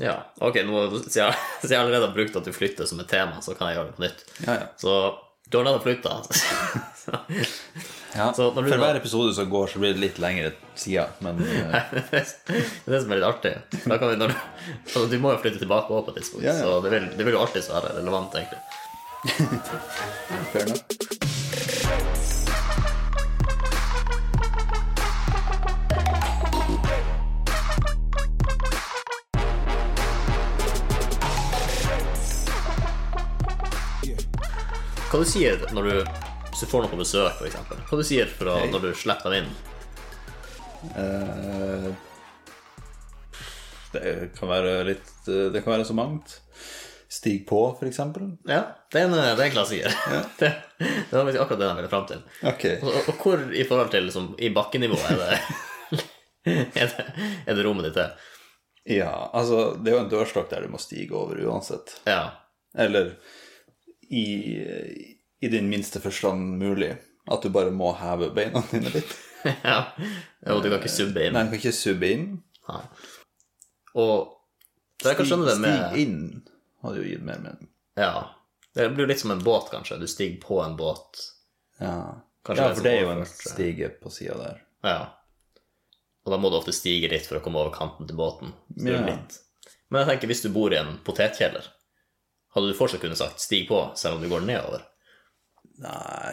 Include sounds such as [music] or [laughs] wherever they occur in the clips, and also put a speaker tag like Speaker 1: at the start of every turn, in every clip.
Speaker 1: Ja, ok, nå, siden jeg- [laughs] siden jeg allerede har brukt at du flytter som et tema, så kan jeg gjøre det på nytt.
Speaker 2: Ja, ja.
Speaker 1: Så du har allerede flytta. [laughs]
Speaker 2: Ja,
Speaker 1: Så når
Speaker 2: For
Speaker 1: du da-
Speaker 2: hver episode som går, så blir det litt lengre sida. Men
Speaker 1: [laughs]
Speaker 2: eh,
Speaker 1: det er det som er litt artig. Da kan vi, når du, altså, du må jo flytte tilbake også på et tidspunkt,
Speaker 2: Ja, ja.
Speaker 1: så det vil, det vil jo alltid være relevant, egentlig.
Speaker 2: fair enough.
Speaker 1: Hva du sier når du, hvis du får noen på besøk, for eksempel Hva du sier for å,
Speaker 2: Hei.
Speaker 1: når du slipper dem inn?
Speaker 2: Eh, det kan være litt eh, Det kan være så mangt. Stig på, for eksempel.
Speaker 1: Ja, det er en, det er en klassiker. [laughs] Det, det var faktisk akkurat det de ville fram til.
Speaker 2: Ok.
Speaker 1: Og, og hvor i forhold til liksom, i bakkenivå er det, [laughs] er det, er det rommet ditt er?
Speaker 2: Ja, altså, det er jo en dørstokk der du må stige over uansett.
Speaker 1: Ja.
Speaker 2: Eller i, i din minste forstand mulig. At du bare må heve beina dine litt.
Speaker 1: ja. Og du kan ikke subbe inn.
Speaker 2: Eh, Nei, du kan ikke subbe inn.
Speaker 1: Nei. Og så jeg kan skjønne det med
Speaker 2: Stig inn hadde jo gitt mer mening.
Speaker 1: Ja. Det blir jo litt som en båt, kanskje. Du stiger på en båt.
Speaker 2: Ja,
Speaker 1: Kanskje
Speaker 2: ja
Speaker 1: det er
Speaker 2: for det er jo
Speaker 1: som
Speaker 2: en
Speaker 1: overført, ja.
Speaker 2: stige på sida der.
Speaker 1: Ja. Og da må du ofte stige litt for å komme over kanten til båten. Så det er
Speaker 2: Ja.
Speaker 1: litt. Men jeg tenker, hvis du bor i en potetkjeller, hadde du fortsatt kunnet sagt 'stig på', selv om du går nedover?
Speaker 2: Nei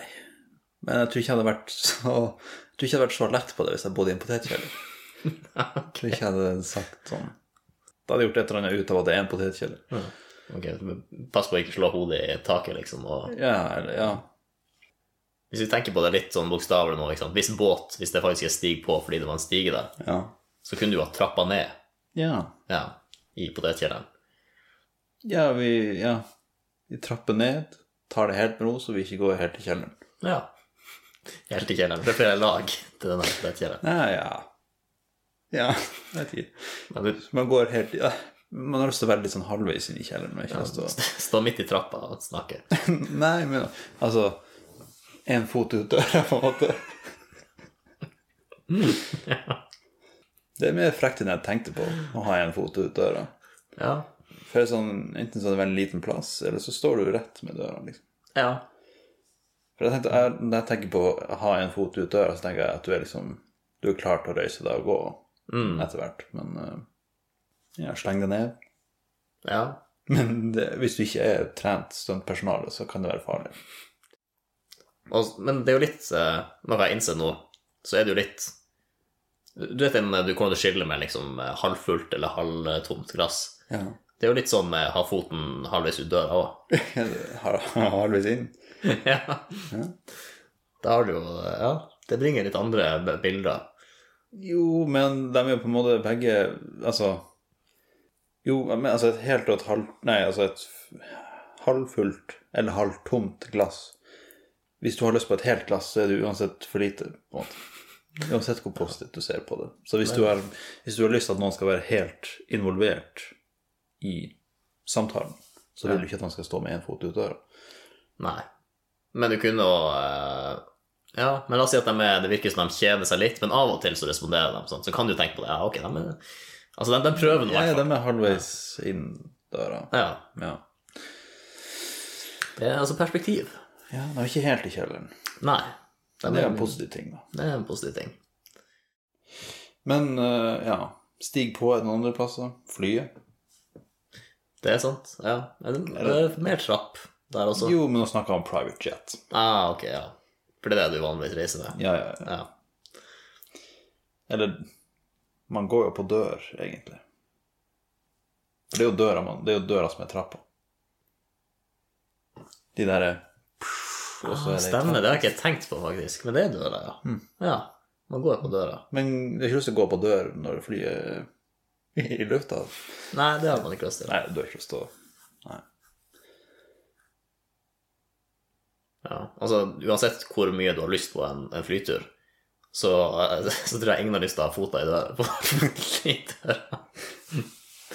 Speaker 2: Men jeg tror ikke jeg hadde vært så Jeg tror ikke jeg hadde vært så lett på det hvis jeg bodde i en potetkjeller. Jeg tror ikke jeg hadde sagt sånn Da hadde jeg gjort et eller annet ut av at det er en potetkjeller.
Speaker 1: Ok, Pass på å ikke slå hodet i taket, liksom. Og
Speaker 2: Ja, eller ja.
Speaker 1: hvis vi tenker på det litt sånn bokstavelig nå, ikke sant? hvis båt, hvis det faktisk er 'stig på' fordi det var en stige der,
Speaker 2: Ja.
Speaker 1: så kunne du ha trappa ned
Speaker 2: ja.
Speaker 1: ja, i potetkjelleren.
Speaker 2: Ja, vi, ja. vi trapper ned, tar det helt med ro, så vi ikke går helt til kjelleren.
Speaker 1: Ja. Helt i kjelleren. Det er flere lag til denne potetkjelleren.
Speaker 2: Ja, ja. Ja, jeg vet ikke.
Speaker 1: Men du
Speaker 2: Man går helt ja. Man har lyst til å være litt sånn halvveis inn i kjelleren. Men ikke lyst til å...
Speaker 1: står midt i trappa og snakker.
Speaker 2: [laughs] Nei, men altså En fot ut døra, på en måte. Det er mer frekt enn jeg tenkte på, å ha en fot ut døra.
Speaker 1: Ja.
Speaker 2: For det er sånn, Enten så er det veldig liten plass, eller så står du rett med døra. liksom.
Speaker 1: ja.
Speaker 2: For jeg tenkte, jeg, Når jeg tenker på å ha en fot ut døra, så tenker jeg at du er liksom Du er klar til å reise deg og gå etter hvert. Men eh, ja, sleng deg ned.
Speaker 1: Ja.
Speaker 2: Men det, hvis du ikke er trent stuntpersonale, så kan det være farlig.
Speaker 1: Og, men det er jo litt eh, Når jeg innser nå, så er det jo litt Du vet den, eh, du kommer til å skille med liksom eh, halvfullt eller halvtomt glass.
Speaker 2: Ja.
Speaker 1: Det er jo litt sånn med ha foten halvveis ut døra òg.
Speaker 2: [laughs] Har- Halvveis inn.
Speaker 1: [laughs] ja. Da har du jo eh, Ja, det bringer litt andre b- bilder.
Speaker 2: Jo, men de er jo på en måte begge Altså Jo, men altså et helt og et halvt Nei, altså et f- halvfullt eller halvtomt glass. Hvis du har lyst på et helt glass, så er det uansett for lite. på en måte. Uansett hvor positivt du ser på det. Så hvis du, har, hvis du har lyst til at noen skal være helt involvert i samtalen, så vil du ikke at han skal stå med én fot ut døra.
Speaker 1: Nei. Men du kunne jo eh, Ja, men la oss si at de er, det virker som de kjeder seg litt, men av og til så responderer de sånn. Så kan du tenke på det. Ja, ok, de er Altså, de, de prøver nå, i
Speaker 2: Ja,
Speaker 1: hvert
Speaker 2: de
Speaker 1: fall.
Speaker 2: er halvveis inn døra.
Speaker 1: Ja.
Speaker 2: Ja.
Speaker 1: Det er altså perspektiv.
Speaker 2: ja, de er ikke helt i kjelleren.
Speaker 1: Nei. De
Speaker 2: Det er
Speaker 1: er,
Speaker 2: en positiv ting, da.
Speaker 1: det er en positiv ting.
Speaker 2: Men eh, ja, stig på er det noen andre plasser. Flyet.
Speaker 1: Det er sant, ja. Er det, er det mer trapp der også?
Speaker 2: Jo, men nå snakker jeg om private jet.
Speaker 1: Ah, ok, ja. For det er det du vanligvis reiser med?
Speaker 2: Ja, ja, ja.
Speaker 1: Ja.
Speaker 2: Eller man går jo på dør, egentlig. For det er jo døra, man, det er jo døra som er trappa. De derre Og så er det
Speaker 1: Ah,
Speaker 2: Mm.
Speaker 1: Stemmer, det har jeg ikke tenkt på, faktisk. Men det er døra, ja. Ja, man går på døra.
Speaker 2: Men det er ikke lyst til å gå på dør når flyet er i lufta.
Speaker 1: Nei, det har man ikke lyst til.
Speaker 2: Nei, du har ikke lyst til å Nei.
Speaker 1: Ja. Altså, uansett hvor mye du har lyst på en, en flytur, så, [laughs] så tror jeg ingen har lyst til å ha fota i døra. [laughs] på- i døra.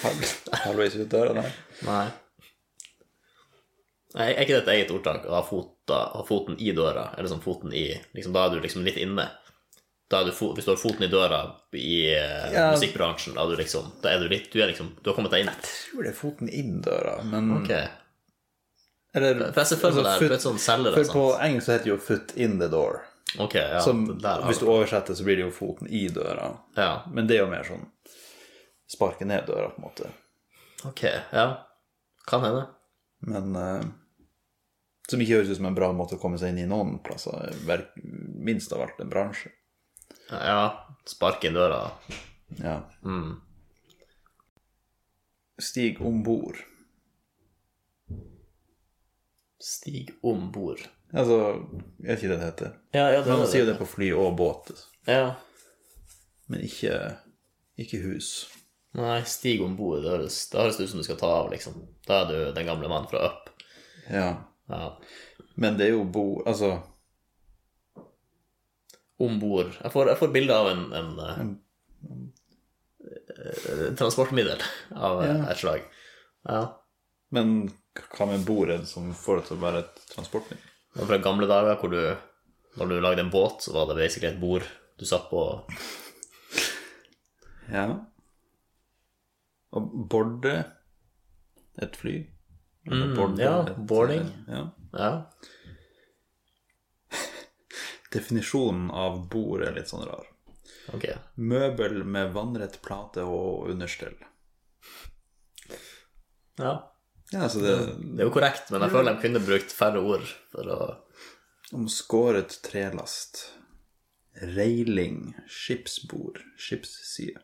Speaker 2: Halv- Halvveis ut døra, nei.
Speaker 1: Nei. Nei, Er ikke det et eget ordtak? Å ha, fota, ha foten i døra? Eller sånn foten i liksom, Da er du liksom litt inne. Da er du fo hvis du har foten i døra i eh,
Speaker 2: Ja.
Speaker 1: musikkbransjen, da er du liksom Da er du litt Du er liksom Du har kommet deg inn.
Speaker 2: Jeg tror det er foten inn døra, men
Speaker 1: Ok.
Speaker 2: Eller altså,
Speaker 1: For jeg ser for meg det her,
Speaker 2: foot-
Speaker 1: du er et sånn selger,
Speaker 2: For
Speaker 1: sant?
Speaker 2: på engelsk så heter det jo 'foot in the door'.
Speaker 1: Ok, ja.
Speaker 2: Som,
Speaker 1: det der, har
Speaker 2: hvis du oversetter, så blir det jo 'foten i døra'.
Speaker 1: Ja.
Speaker 2: Men det er jo mer sånn sparke ned døra, på en måte.
Speaker 1: Ok, ja. Kan hende.
Speaker 2: Men eh, som ikke høres ut som en bra måte å komme seg inn i noen plasser. verk- Minst av alt en bransje.
Speaker 1: Ja. Sparke inn døra.
Speaker 2: Ja.
Speaker 1: Mm.
Speaker 2: Stig om bord.
Speaker 1: Stig om bord.
Speaker 2: Altså, jeg vet ikke det det heter.
Speaker 1: Ja, ja,
Speaker 2: Man sier jo det på fly og båt,
Speaker 1: Ja.
Speaker 2: men ikke, ikke hus.
Speaker 1: Nei, stig om bord, det høres det høres ut som du skal ta av, liksom. Da er du den gamle mannen fra Up.
Speaker 2: Ja.
Speaker 1: Ja.
Speaker 2: Men det er jo bo... Altså,
Speaker 1: Om bord. Jeg får, jeg får bilde av en, en, eh, eh, transportmiddel av eh,
Speaker 2: Ja.
Speaker 1: et slag. Ja.
Speaker 2: men hva med bordet som får det til å være et transportmiddel?
Speaker 1: Det var fra gamle dager hvor du Når du lagde en båt, så var det basically et bord du satt på.
Speaker 2: Ja. Og borde et fly. Eller
Speaker 1: Mm,
Speaker 2: borde
Speaker 1: ja, boarding.
Speaker 2: Ja.
Speaker 1: Ja.
Speaker 2: Definisjonen av bord er litt sånn rar.
Speaker 1: Ok.
Speaker 2: Møbel med vannrett plate og understell.
Speaker 1: Ja.
Speaker 2: Ja, altså det
Speaker 1: Det er jo korrekt, men jeg føler de kunne brukt færre ord for å
Speaker 2: Omskåret trelast. Reiling. Skipsbord. Skipsside.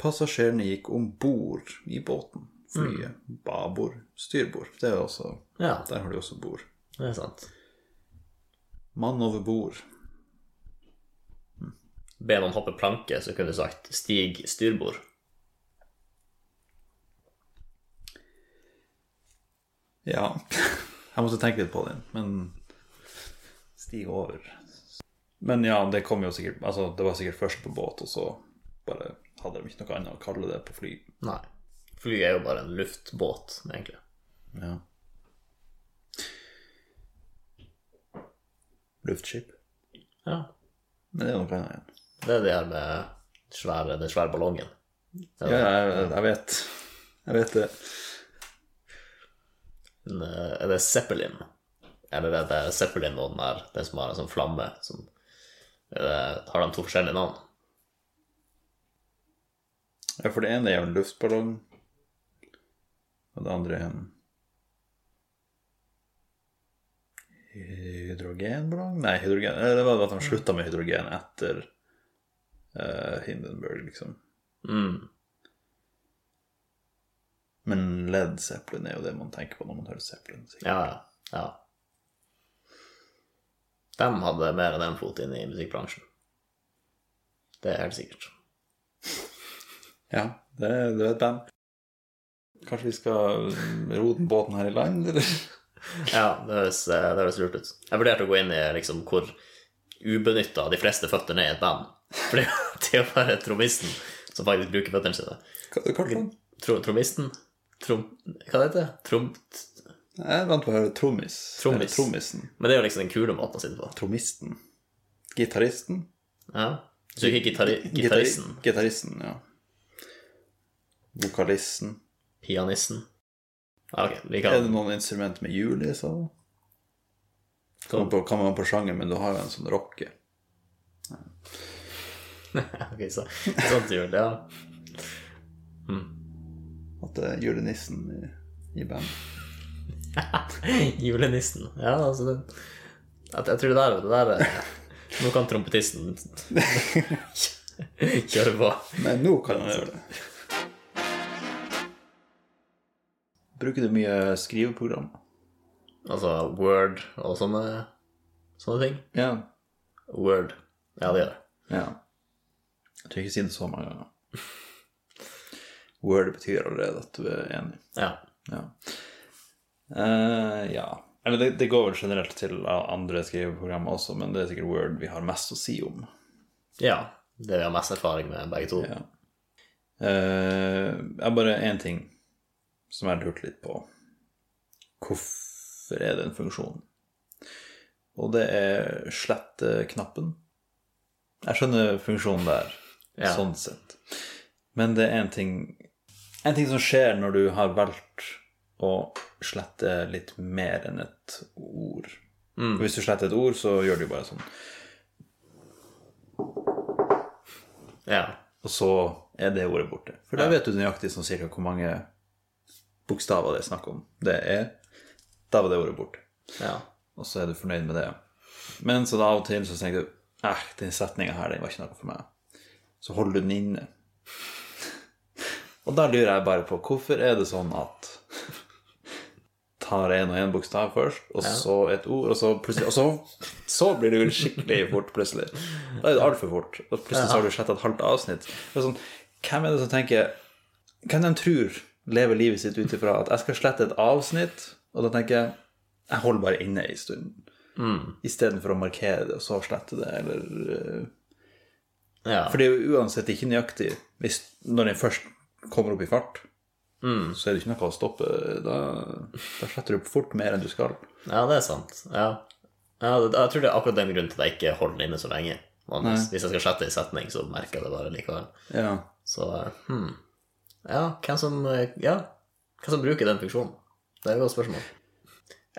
Speaker 2: Passasjerene gikk om bord i båten. Flyet.
Speaker 1: Mm.
Speaker 2: Babord. Styrbord. Det er også,
Speaker 1: Ja,
Speaker 2: der har de også bord.
Speaker 1: det er sant.
Speaker 2: Mann over bord.
Speaker 1: Be noen hoppe planke, så kunne du sagt 'stig styrbord'.
Speaker 2: Ja. [laughs] Jeg måtte tenke litt på den, men Stig over. Men ja, det kom jo sikkert Altså, det var sikkert først på båt, og så bare hadde de ikke noe annet å kalle det på fly.
Speaker 1: Nei. Fly er jo bare en luftbåt, egentlig.
Speaker 2: Ja. Luftskip.
Speaker 1: Ja.
Speaker 2: Men det er noe annet igjen.
Speaker 1: Det er det her med svære, den svære ballongen.
Speaker 2: Ja, jeg, jeg vet. Jeg vet det.
Speaker 1: Den, eh, Er det Zeppelin? Eller er det Zeppelin og den der, den som har en sånn flamme som er det- Har de to forskjellige navn?
Speaker 2: Ja, for det ene er jo en luftballong, og det andre er en Hydrogenballong? Nei, hydrogen eh, Det var at de slutta med hydrogen etter eh, Hindenburg, liksom.
Speaker 1: Mm.
Speaker 2: Men Led Zeppelin er jo det man tenker på når man hører Zeppelin. sikkert.
Speaker 1: Ja, ja, ja. De hadde mer enn én fot inn i musikkbransjen. Det er helt sikkert.
Speaker 2: Ja, det, det vet band. Kanskje vi skal ro den båten her i land, eller?
Speaker 1: Ja, det høres, eh, det høres lurt ut. Jeg vurderte å gå inn i liksom hvor ubenytta de fleste føttene er i et band. [laughs] For det er jo- det er jo bare trommisten som faktisk bruker føttene sine.
Speaker 2: Hva hva kalte du den?
Speaker 1: Tro, trommisten? Trom... Hva heter det? Trom...
Speaker 2: Jeg er vant på å høre trommis.
Speaker 1: Trommis.
Speaker 2: Eller trommisen.
Speaker 1: Men det er jo liksom den kule måten å si det på.
Speaker 2: Trommisten. Gitaristen.
Speaker 1: Ja. Så ikke gitari- gitaristen.
Speaker 2: Gitari- Gitaristen, ja. Vokalisten.
Speaker 1: Pianisten. Ja, ok. Vi
Speaker 2: Er det
Speaker 1: kan
Speaker 2: noen instrument med hjul i seg? Kommer på, kommer an på sjanger, men du har jo en sånn rocke.
Speaker 1: [laughs] Ok, så sånn til jul, ja. [laughs]
Speaker 2: At det er julenissen i, i band.
Speaker 1: Julenissen. Ja, altså det, jeg, jeg tror det der, det der eh, Nå kan trompetisten [laughs] kjøre på.
Speaker 2: Nei, nå kan jeg gjøre det. Bruker du mye skriveprogram?
Speaker 1: Altså Word og sånne, sånne ting.
Speaker 2: Ja.
Speaker 1: Word. Ja, det gjør jeg.
Speaker 2: ja. Jeg tror ikke jeg sier det så mange
Speaker 1: [laughs]
Speaker 2: ganger. Word betyr allerede at du er enig.
Speaker 1: Ja.
Speaker 2: Ja. Eh, ja. Eller det, det går vel generelt til andre skriveprogram også, men det er sikkert Word vi har mest å si om.
Speaker 1: ja. Det vi har mest erfaring med, begge to.
Speaker 2: Ja. Eh, jeg har bare én ting som jeg har lurt litt på. Hvorfor er det en funksjon? Og det er slette-knappen. Jeg skjønner funksjonen der,
Speaker 1: Ja.
Speaker 2: sånn sett. Men det er en ting, en ting som skjer når du har valgt å slette litt mer enn et ord. Og Hvis du sletter et ord, så gjør du bare sånn.
Speaker 1: Ja.
Speaker 2: Og så er det ordet borte. For da vet du nøyaktig sånn cirka hvor mange bokstaver det er snakk om. Det er Da var det ordet borte.
Speaker 1: ja.
Speaker 2: Og så er du fornøyd med det. Men så da av og til så tenker du eh, den setninga her den var ikke noe for meg. Så holder du den inne. Og da lurer jeg bare på hvorfor er det sånn at [laughs] tar en og en bokstav først, og så et ord, og så plutselig Og så, så blir det jo skikkelig fort, plutselig. Da er det altfor fort. Og plutselig så har du sletta et halvt avsnitt. Det er sånn, hvem er det som tenker Hvem de tror lever livet sitt ut ifra at jeg skal slette et avsnitt, og da tenker jeg jeg holder bare inne en stund. Mm. Istedenfor å markere det, og så slette det, eller eh,
Speaker 1: ja.
Speaker 2: For det er jo uansett ikke nøyaktig. Hvis, når den først kommer opp i fart, så er det ikke noe å stoppe. Da, da sletter du fort mer enn du skal.
Speaker 1: Ja, det er sant. Ja. Ja, det- jeg tror det er akkurat den grunnen til at jeg ikke holder det inne så lenge. Vanligvis. Hvis jeg skal slette en setning, så merker jeg det bare likevel.
Speaker 2: Ja.
Speaker 1: Så eh, hmm. Ja, hvem som, eh, ja, hvem som bruker den funksjonen? Det er et godt spørsmål.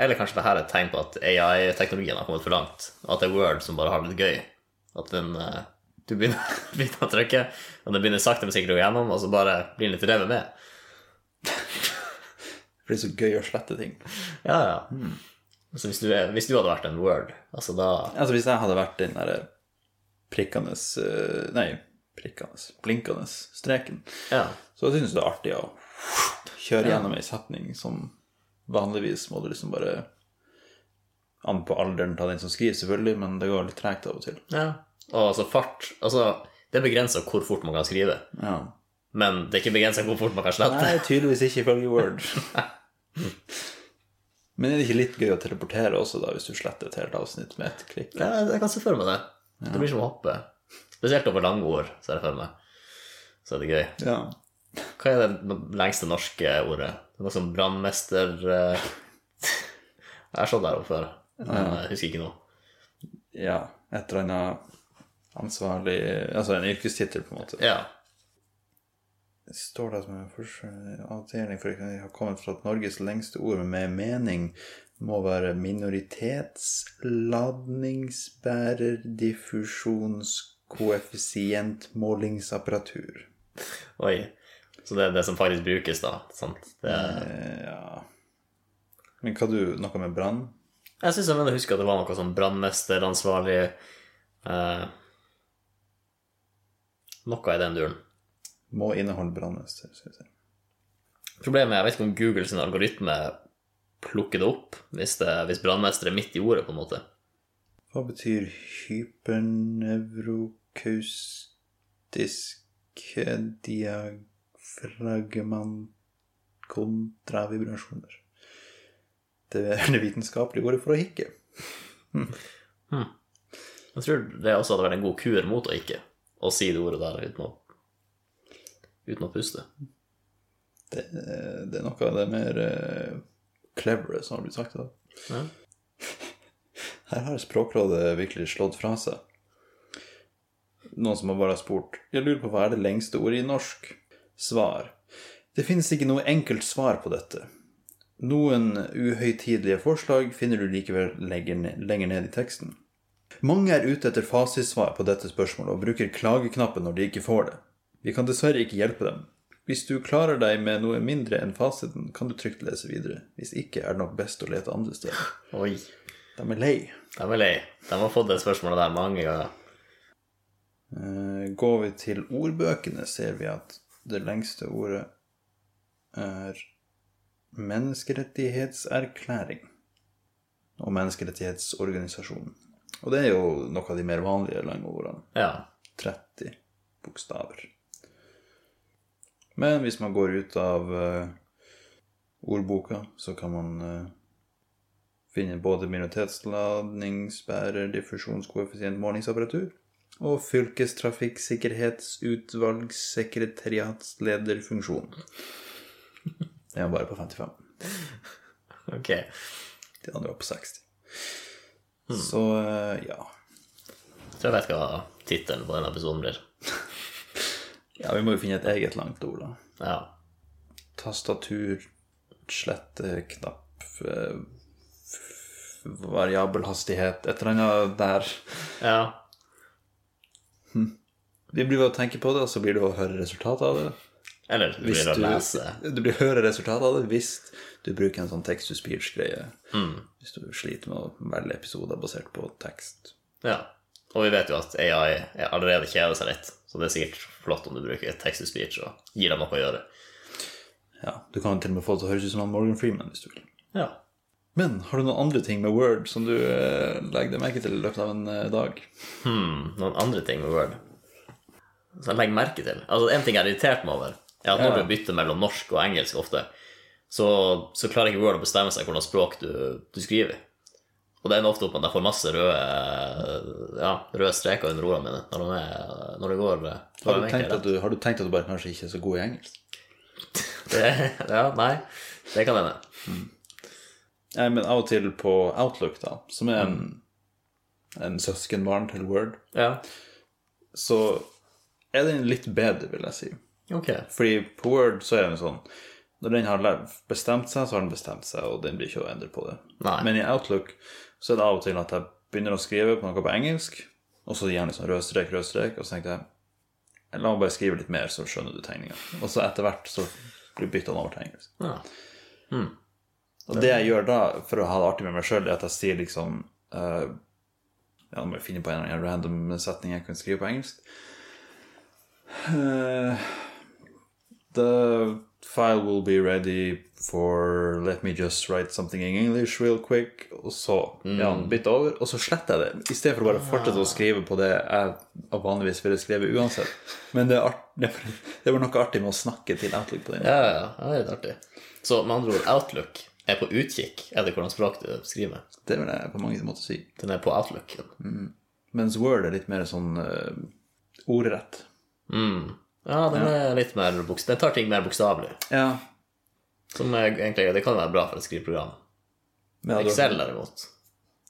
Speaker 1: Eller kanskje det her er et tegn på at AI-teknologien har kommet for langt. og At det er Word som bare har det litt gøy. At den, eh, du begynner, [laughs] begynner å trykke, og den begynner sakte, men sikkert å gå gjennom, og så bare blir den litt revet med.
Speaker 2: For det er så gøy å slette ting.
Speaker 1: Ja, ja. Så hvis du, er- hvis du hadde vært en Word, altså da
Speaker 2: Altså Hvis jeg hadde vært den derre prikkende eh, Nei, prikkende, blinkende streken,
Speaker 1: Ja.
Speaker 2: så jeg synes jeg det er artig å kjøre gjennom ei setning som vanligvis må du liksom bare An på alderen til den som skriver, selvfølgelig, men det går litt tregt av og til.
Speaker 1: ja. Og altså fart Altså, det er begrensa hvor fort man kan skrive,
Speaker 2: Ja.
Speaker 1: men det er ikke begrensa hvor fort man kan slette.
Speaker 2: Nei, tydeligvis ikke ifølge Word. Men er det ikke litt gøy å teleportere også, da, hvis du sletter et helt avsnitt med ett klikk?
Speaker 1: Ja, jeg kan se for meg det. Det blir som å hoppe. Spesielt over lange ord, ser jeg for meg. Så er det gøy.
Speaker 2: Ja.
Speaker 1: Hva er det lengste norske ordet? Det er Noe som brannmester eh, [laughs] Jeg har sett det her oppe før, men jeg husker ikke nå.
Speaker 2: ja. Et eller annet ansvarlig Altså en yrkestittel, på en måte.
Speaker 1: Ja.
Speaker 2: Står det som en forskjell- avdeling for det har kommet fra at Norges lengste ord med mening må være minoritetsladningsbærerdiffusjonskoeffisientmålingsapparatur.
Speaker 1: Oi. Så det er det som faktisk brukes, da. Sant? Det,
Speaker 2: Eh, Ja Men hva du Noe med brann?
Speaker 1: jeg syns jeg mener å huske at det var noe sånn brannmesteransvarlig eh, Noe i den duren.
Speaker 2: Må inneholde brannmester. skal vi si.
Speaker 1: Problemet er, jeg vet ikke om Google sin algoritme plukker det opp hvis, det- hvis brannmester er midt i ordet, på en måte.
Speaker 2: Hva betyr hypernevrokaustiske diafragmankontravibrasjoner? Det er det vitenskapelige ordet for å hikke.
Speaker 1: Jeg tror det også hadde vært en god kur mot å ikke å si det ordet der uten å, uten å puste.
Speaker 2: Det, det er noe av det mer eh, clevere som har blitt sagt. Da.
Speaker 1: Ja.
Speaker 2: Her har Språkrådet virkelig slått fra seg. Noen som har bare spurt Jeg lurer på hva er det lengste ordet i norsk? Svar. Det finnes ikke noe enkelt svar på dette. Noen uhøytidelige forslag finner du likevel lenger ned, lenger ned i teksten. Mange er ute etter fasitsvar på dette spørsmålet og bruker klageknappen når de ikke får det. Vi kan dessverre ikke hjelpe dem. Hvis du klarer deg med noe mindre enn fasiten, kan du trygt lese videre. Hvis ikke er det nok best å lete andre steder.
Speaker 1: Oi.
Speaker 2: De er lei.
Speaker 1: De er lei. De har fått det spørsmålet der mange ganger.
Speaker 2: Eh, Går vi til ordbøkene, ser vi at det lengste ordet er menneskerettighetserklæring og menneskerettighetsorganisasjon. Og det er jo noe av de mer vanlige lange ordene.
Speaker 1: Ja.
Speaker 2: 30 bokstaver. Men hvis man går ut av eh, ordboka, så kan man eh, finne både minoritetsladningsbærer, diffusjonskoeffisient, målingsapparatur og fylkestrafikksikkerhetsutvalgssekretariatslederfunksjon. Det er bare på 55.
Speaker 1: Ok.
Speaker 2: De andre var på 60. Så eh, ja.
Speaker 1: Jeg tror jeg vet hva tittelen på denne episoden blir.
Speaker 2: Ja, vi må jo finne et eget langt ord, da.
Speaker 1: Ja.
Speaker 2: Tastatur, slette, knapp eh, f- Variabel hastighet, et eller annet der.
Speaker 1: ja.
Speaker 2: Vi blir ved å tenke på det, og så blir det å høre resultatet av det.
Speaker 1: Eller du blir å lese.
Speaker 2: du, du blir høre resultatet av det hvis du bruker en sånn text-to-speech-greie.
Speaker 1: Mm.
Speaker 2: Hvis du sliter med å velge episoder basert på tekst.
Speaker 1: Ja. Og vi vet jo at AI er allerede kjeder seg litt, så det er sikkert flott om du bruker text to speech og gir dem noe å gjøre.
Speaker 2: Ja, Du kan jo til og med få det til å høres ut som han Morgan Freeman hvis du vil.
Speaker 1: Ja.
Speaker 2: Men har du noen andre ting med Word som du eh, legger deg merke til i løpet av en eh, dag?
Speaker 1: Hmm, noen andre ting med Word som jeg legger merke til. Altså, En ting jeg er irritert meg over, er at når
Speaker 2: Ja.
Speaker 1: du bytter mellom norsk og engelsk ofte, så, så klarer ikke Word å bestemme seg hvordan språk du, du skriver. Og det ender ofte opp med at jeg får masse røde, ja, røde streker under ordene mine når, de er, når det går
Speaker 2: Har du, tenkt at du, har du tenkt at du bare kanskje ikke er så god i engelsk?
Speaker 1: det, [laughs] Ja, nei. Det kan hende.
Speaker 2: Nei, men av og til på Outlook, da, som er en, en søskenbarn til Word,
Speaker 1: Ja.
Speaker 2: så er den litt bedre, vil jeg si.
Speaker 1: Ok.
Speaker 2: Fordi på Word så er det jo sånn Når den har lært- bestemt seg, så har den bestemt seg, og den blir ikke å endre på det.
Speaker 1: Nei.
Speaker 2: Men i Outlook så er det av og til at jeg begynner å skrive på noe på engelsk, og så gjerne sånn rød strek, rød strek, og så tenkte jeg La meg bare skrive litt mer, så skjønner du tegninga. Og så etter hvert så blir bytta over til engelsk.
Speaker 1: Ja.
Speaker 2: Og det jeg gjør da, for å ha det artig med meg sjøl, er at jeg sier liksom eh, Ja, nå må jeg finne på en eller annen random setning jeg kan skrive på engelsk. Eh, the file will be ready for Let me just write something in English real quick. Og så ja, bytte over, og så sletter jeg det. I stedet for å bare fortsette å skrive på det jeg vanligvis ville skrevet uansett. Men det, er art, [laughs] det, det var noe artig med å snakke til Outlook på den.
Speaker 1: Ja, ja, ja, det er litt artig. Så med andre ord, Outlook er på utkikk etter hvordan språk du skriver.
Speaker 2: Det vil jeg på mange måter si.
Speaker 1: Den er på outlooken.
Speaker 2: Mens Word er litt mer sånn eh, ordrett.
Speaker 1: Ja, den er litt mer boks- Den tar ting mer bokstavelig.
Speaker 2: Ja.
Speaker 1: Som er egentlig, det kan være bra for et skriveprogram.
Speaker 2: Men jeg,
Speaker 1: Excel, derimot,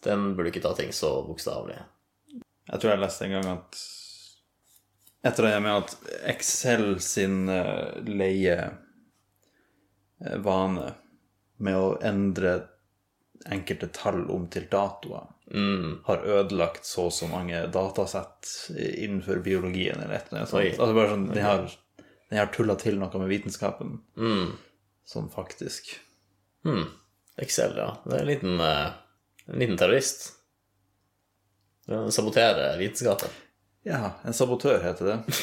Speaker 1: den burde ikke ta ting så bokstavelig.
Speaker 2: jeg tror jeg leste en gang at Etter det med at Excel sin eh, leie eh, vane med å endre enkelte tall om til datoer
Speaker 1: Mm.
Speaker 2: har ødelagt så og så mange datasett innenfor biologien eller et eller annet sånt.
Speaker 1: Oi.
Speaker 2: Altså bare sånn, de har, de har tulla til noe med vitenskapen.
Speaker 1: Mm.
Speaker 2: Sånn faktisk.
Speaker 1: Hmm. Excel, ja. Det er en liten, eh, en liten terrorist. Den saboterer vitenskapen. [laughs]
Speaker 2: Ja, en sabotør heter det.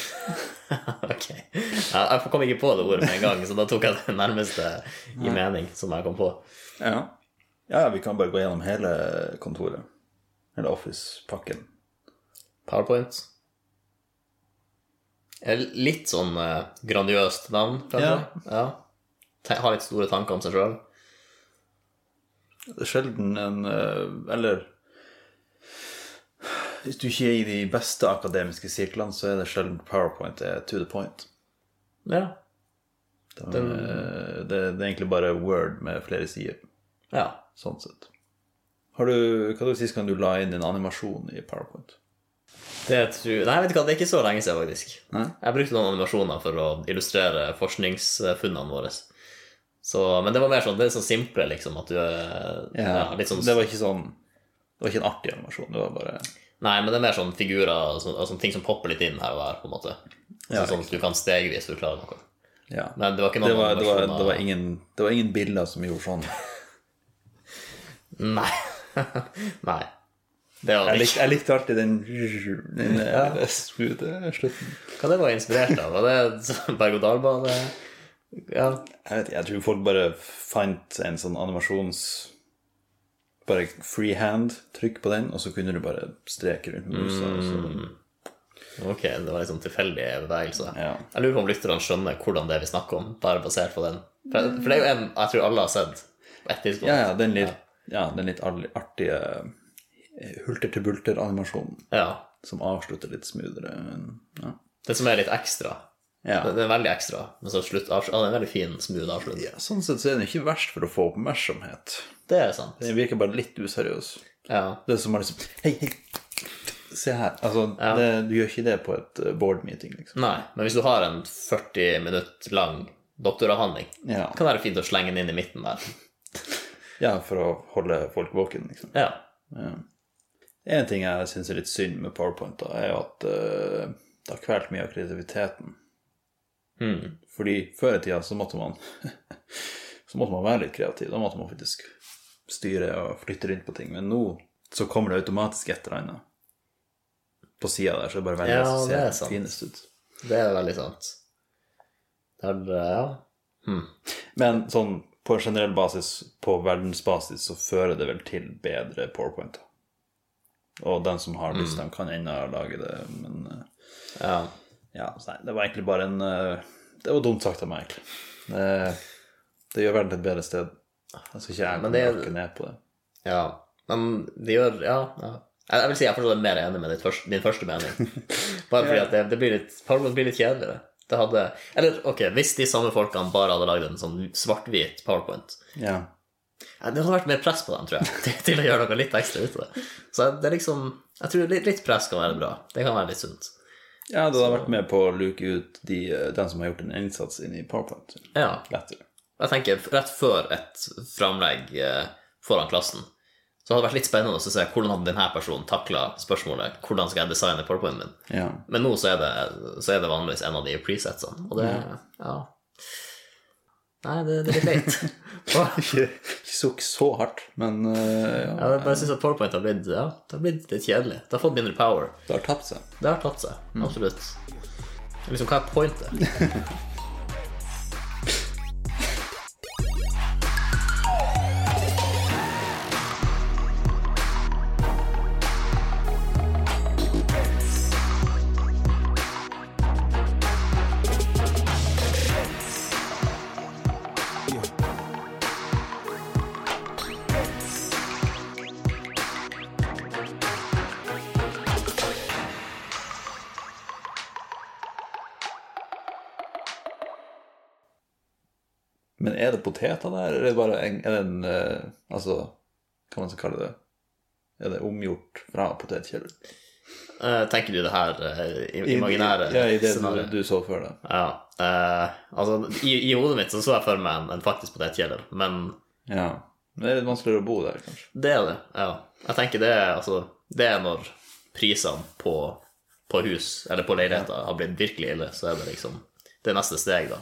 Speaker 1: ok. Ja, jeg kom ikke på det ordet med en gang, så da tok jeg det nærmeste i mening som jeg kom på.
Speaker 2: Ja. ja, vi kan bare gå gjennom hele kontoret. Eller Office-pakken.
Speaker 1: PowerPoint. Eh, Litt sånn eh, grandiøst navn, kanskje. Ja. Te- Har litt store tanker om seg sjøl.
Speaker 2: Det er Sjelden en eh, Eller Hvis du ikke er i de beste akademiske sirklene, så er det sjelden PowerPoint er to the point.
Speaker 1: Ja.
Speaker 2: Det er, eh, det, det er egentlig bare Word med flere sider,
Speaker 1: ja.
Speaker 2: sånn sett. Har du, hva du sist gang du la inn en animasjon i PowerPoint?
Speaker 1: Det tror Nei, vet du hva, det er ikke så lenge siden, faktisk.
Speaker 2: Nei?
Speaker 1: Jeg brukte noen animasjoner for å illustrere forskningsfunnene våre. Så, men det var mer sånn, det er så simple, liksom, at du eh, ja, litt sånn
Speaker 2: Det var ikke sånn Det var ikke en artig animasjon. Det var bare
Speaker 1: Nei, men det er mer sånn figurer, sånn, altså, ting som popper litt inn her og der, på en måte.
Speaker 2: Ja,
Speaker 1: Så, sånn at du kan stegvis forklare noe.
Speaker 2: Ja.
Speaker 1: Men det var ikke noen
Speaker 2: Det var, det, var,
Speaker 1: animasjoner-
Speaker 2: det, var ingen, det var ingen bilder som gjorde sånn.
Speaker 1: Nei. [laughs] Nei. Det var
Speaker 2: Jeg
Speaker 1: det ikke.
Speaker 2: likte, jeg likte alltid den, den eh, smooth slutten.
Speaker 1: Hva det var inspirert av? Var det [laughs] sånn berg-og-dal-bane? Ja.
Speaker 2: Jeg vet ikke, jeg tror folk bare fant en sånn animasjons... Bare freehand, trykk på den, og så kunne du bare streke rundt med musa. og så-
Speaker 1: Ok, det var litt sånn tilfeldige bevegelser.
Speaker 2: Ja.
Speaker 1: Jeg lurer på om lytterne skjønner hvordan det er vi snakker om, bare basert på den. For, for det er jo en jeg tror alle har sett på et tidspunkt.
Speaker 2: Ja, ja, den litt, ja, den litt all- artige eh, hulter-til-bulter-animasjonen
Speaker 1: Ja.
Speaker 2: som avslutter litt smoothere. enn- Ja.
Speaker 1: Det som er litt ekstra.
Speaker 2: Ja.
Speaker 1: Det, det er veldig ekstra, men så slutt, avsl- ja, det er en veldig fin, smooth avslutt.
Speaker 2: ja, sånn sett så er den ikke verst for å få oppmerksomhet.
Speaker 1: Det er sant.
Speaker 2: Den virker bare litt useriøs.
Speaker 1: Ja.
Speaker 2: Det er som bare liksom Hei, hei! Se her. Altså,
Speaker 1: Ja.
Speaker 2: det, du gjør ikke det på et eh, board meeting, liksom.
Speaker 1: Nei, men hvis du har en 40 minutt lang doktoravhandling,
Speaker 2: Ja.
Speaker 1: kan det være fint å slenge den inn i midten der.
Speaker 2: ja, for å holde folk våken, liksom.
Speaker 1: Ja.
Speaker 2: Ja. En ting jeg syns er litt synd med PowerPoint, da, er jo at eh, det har kvelt mye av kreativiteten.
Speaker 1: Mm.
Speaker 2: Fordi før i tida så måtte man [laughs] Så måtte man være litt kreativ. Da måtte man faktisk styre og flytte rundt på ting. Men nå så kommer det automatisk et eller annet på sida der, så det er bare velger
Speaker 1: Ja,
Speaker 2: det som
Speaker 1: det er
Speaker 2: ser
Speaker 1: sant.
Speaker 2: finest ut.
Speaker 1: Det er veldig sant. Det er, ja. Hmm.
Speaker 2: Men sånn på generell basis, på verdensbasis, så fører det vel til bedre powerpointer. Og den som har
Speaker 1: Mm.
Speaker 2: lyst, de kan ennå lage det, men eh,
Speaker 1: Ja.
Speaker 2: Ja, så nei, det var egentlig bare en eh, Det var dumt sagt av meg, egentlig. Eh, det gjør verden til et bedre sted. Jeg skal ikke
Speaker 1: Men
Speaker 2: jeg komme
Speaker 1: det er-
Speaker 2: rakke ned på det.
Speaker 1: ja. Men det gjør Ja. ja. Jeg jeg vil si jeg er fortsatt mer enig med ditt første, din første mening. Bare fordi at det, det blir litt PowerPoint blir litt kjedeligere. Det hadde Eller ok, hvis de samme folkene bare hadde lagd en sånn svart-hvit PowerPoint
Speaker 2: Ja.
Speaker 1: Ja, Det hadde vært mer press på dem, tror jeg, [laughs] til, til å gjøre noe litt ekstra ut av det. Så det er liksom Jeg tror litt, litt press kan være bra. Det kan være litt sunt.
Speaker 2: ja, det har vært med på å luke ut de, eh, den som har gjort en innsats inn i PowerPoint.
Speaker 1: Ja.
Speaker 2: Lettere.
Speaker 1: Jeg tenker rett før et framlegg eh, foran klassen, så hadde det vært litt spennende å se hvordan hadde denne personen takla spørsmålet hvordan skal jeg designe powerpointen min.
Speaker 2: Ja.
Speaker 1: Men nå så er det, så er det vanligvis en av de presetsene, og det
Speaker 2: Mm.
Speaker 1: Ja. Nei, det, det er litt
Speaker 2: [laughs]
Speaker 1: leit. ja, [laughs]
Speaker 2: Ikke, ikke sukk så hardt, men eh, ja,
Speaker 1: jeg bare syns at powerpoint har blitt, ja, det har blitt litt kjedelig. Det har fått mindre power.
Speaker 2: det har tapt seg.
Speaker 1: Det har tatt seg,
Speaker 2: Mm.
Speaker 1: absolutt. Liksom, hva er pointet?
Speaker 2: [laughs] Men er det poteter der, eller er det bare en, er det en eh, Altså, hva man skal kalle det? Er det omgjort fra potetkjeller?
Speaker 1: Eh, tenker du det her eh, i- imaginære
Speaker 2: ja, i det du,
Speaker 1: scenarioet?
Speaker 2: du så før det.
Speaker 1: Ja. eh, altså, i, i hodet mitt så så jeg for meg en, en faktisk potetkjeller, men
Speaker 2: Ja. Men det er litt vanskeligere å bo der, kanskje.
Speaker 1: det er det. Ja. Jeg tenker det er altså Det er når prisene på, på hus, eller på leiligheter, har blitt virkelig ille, så er det liksom det neste steg, da.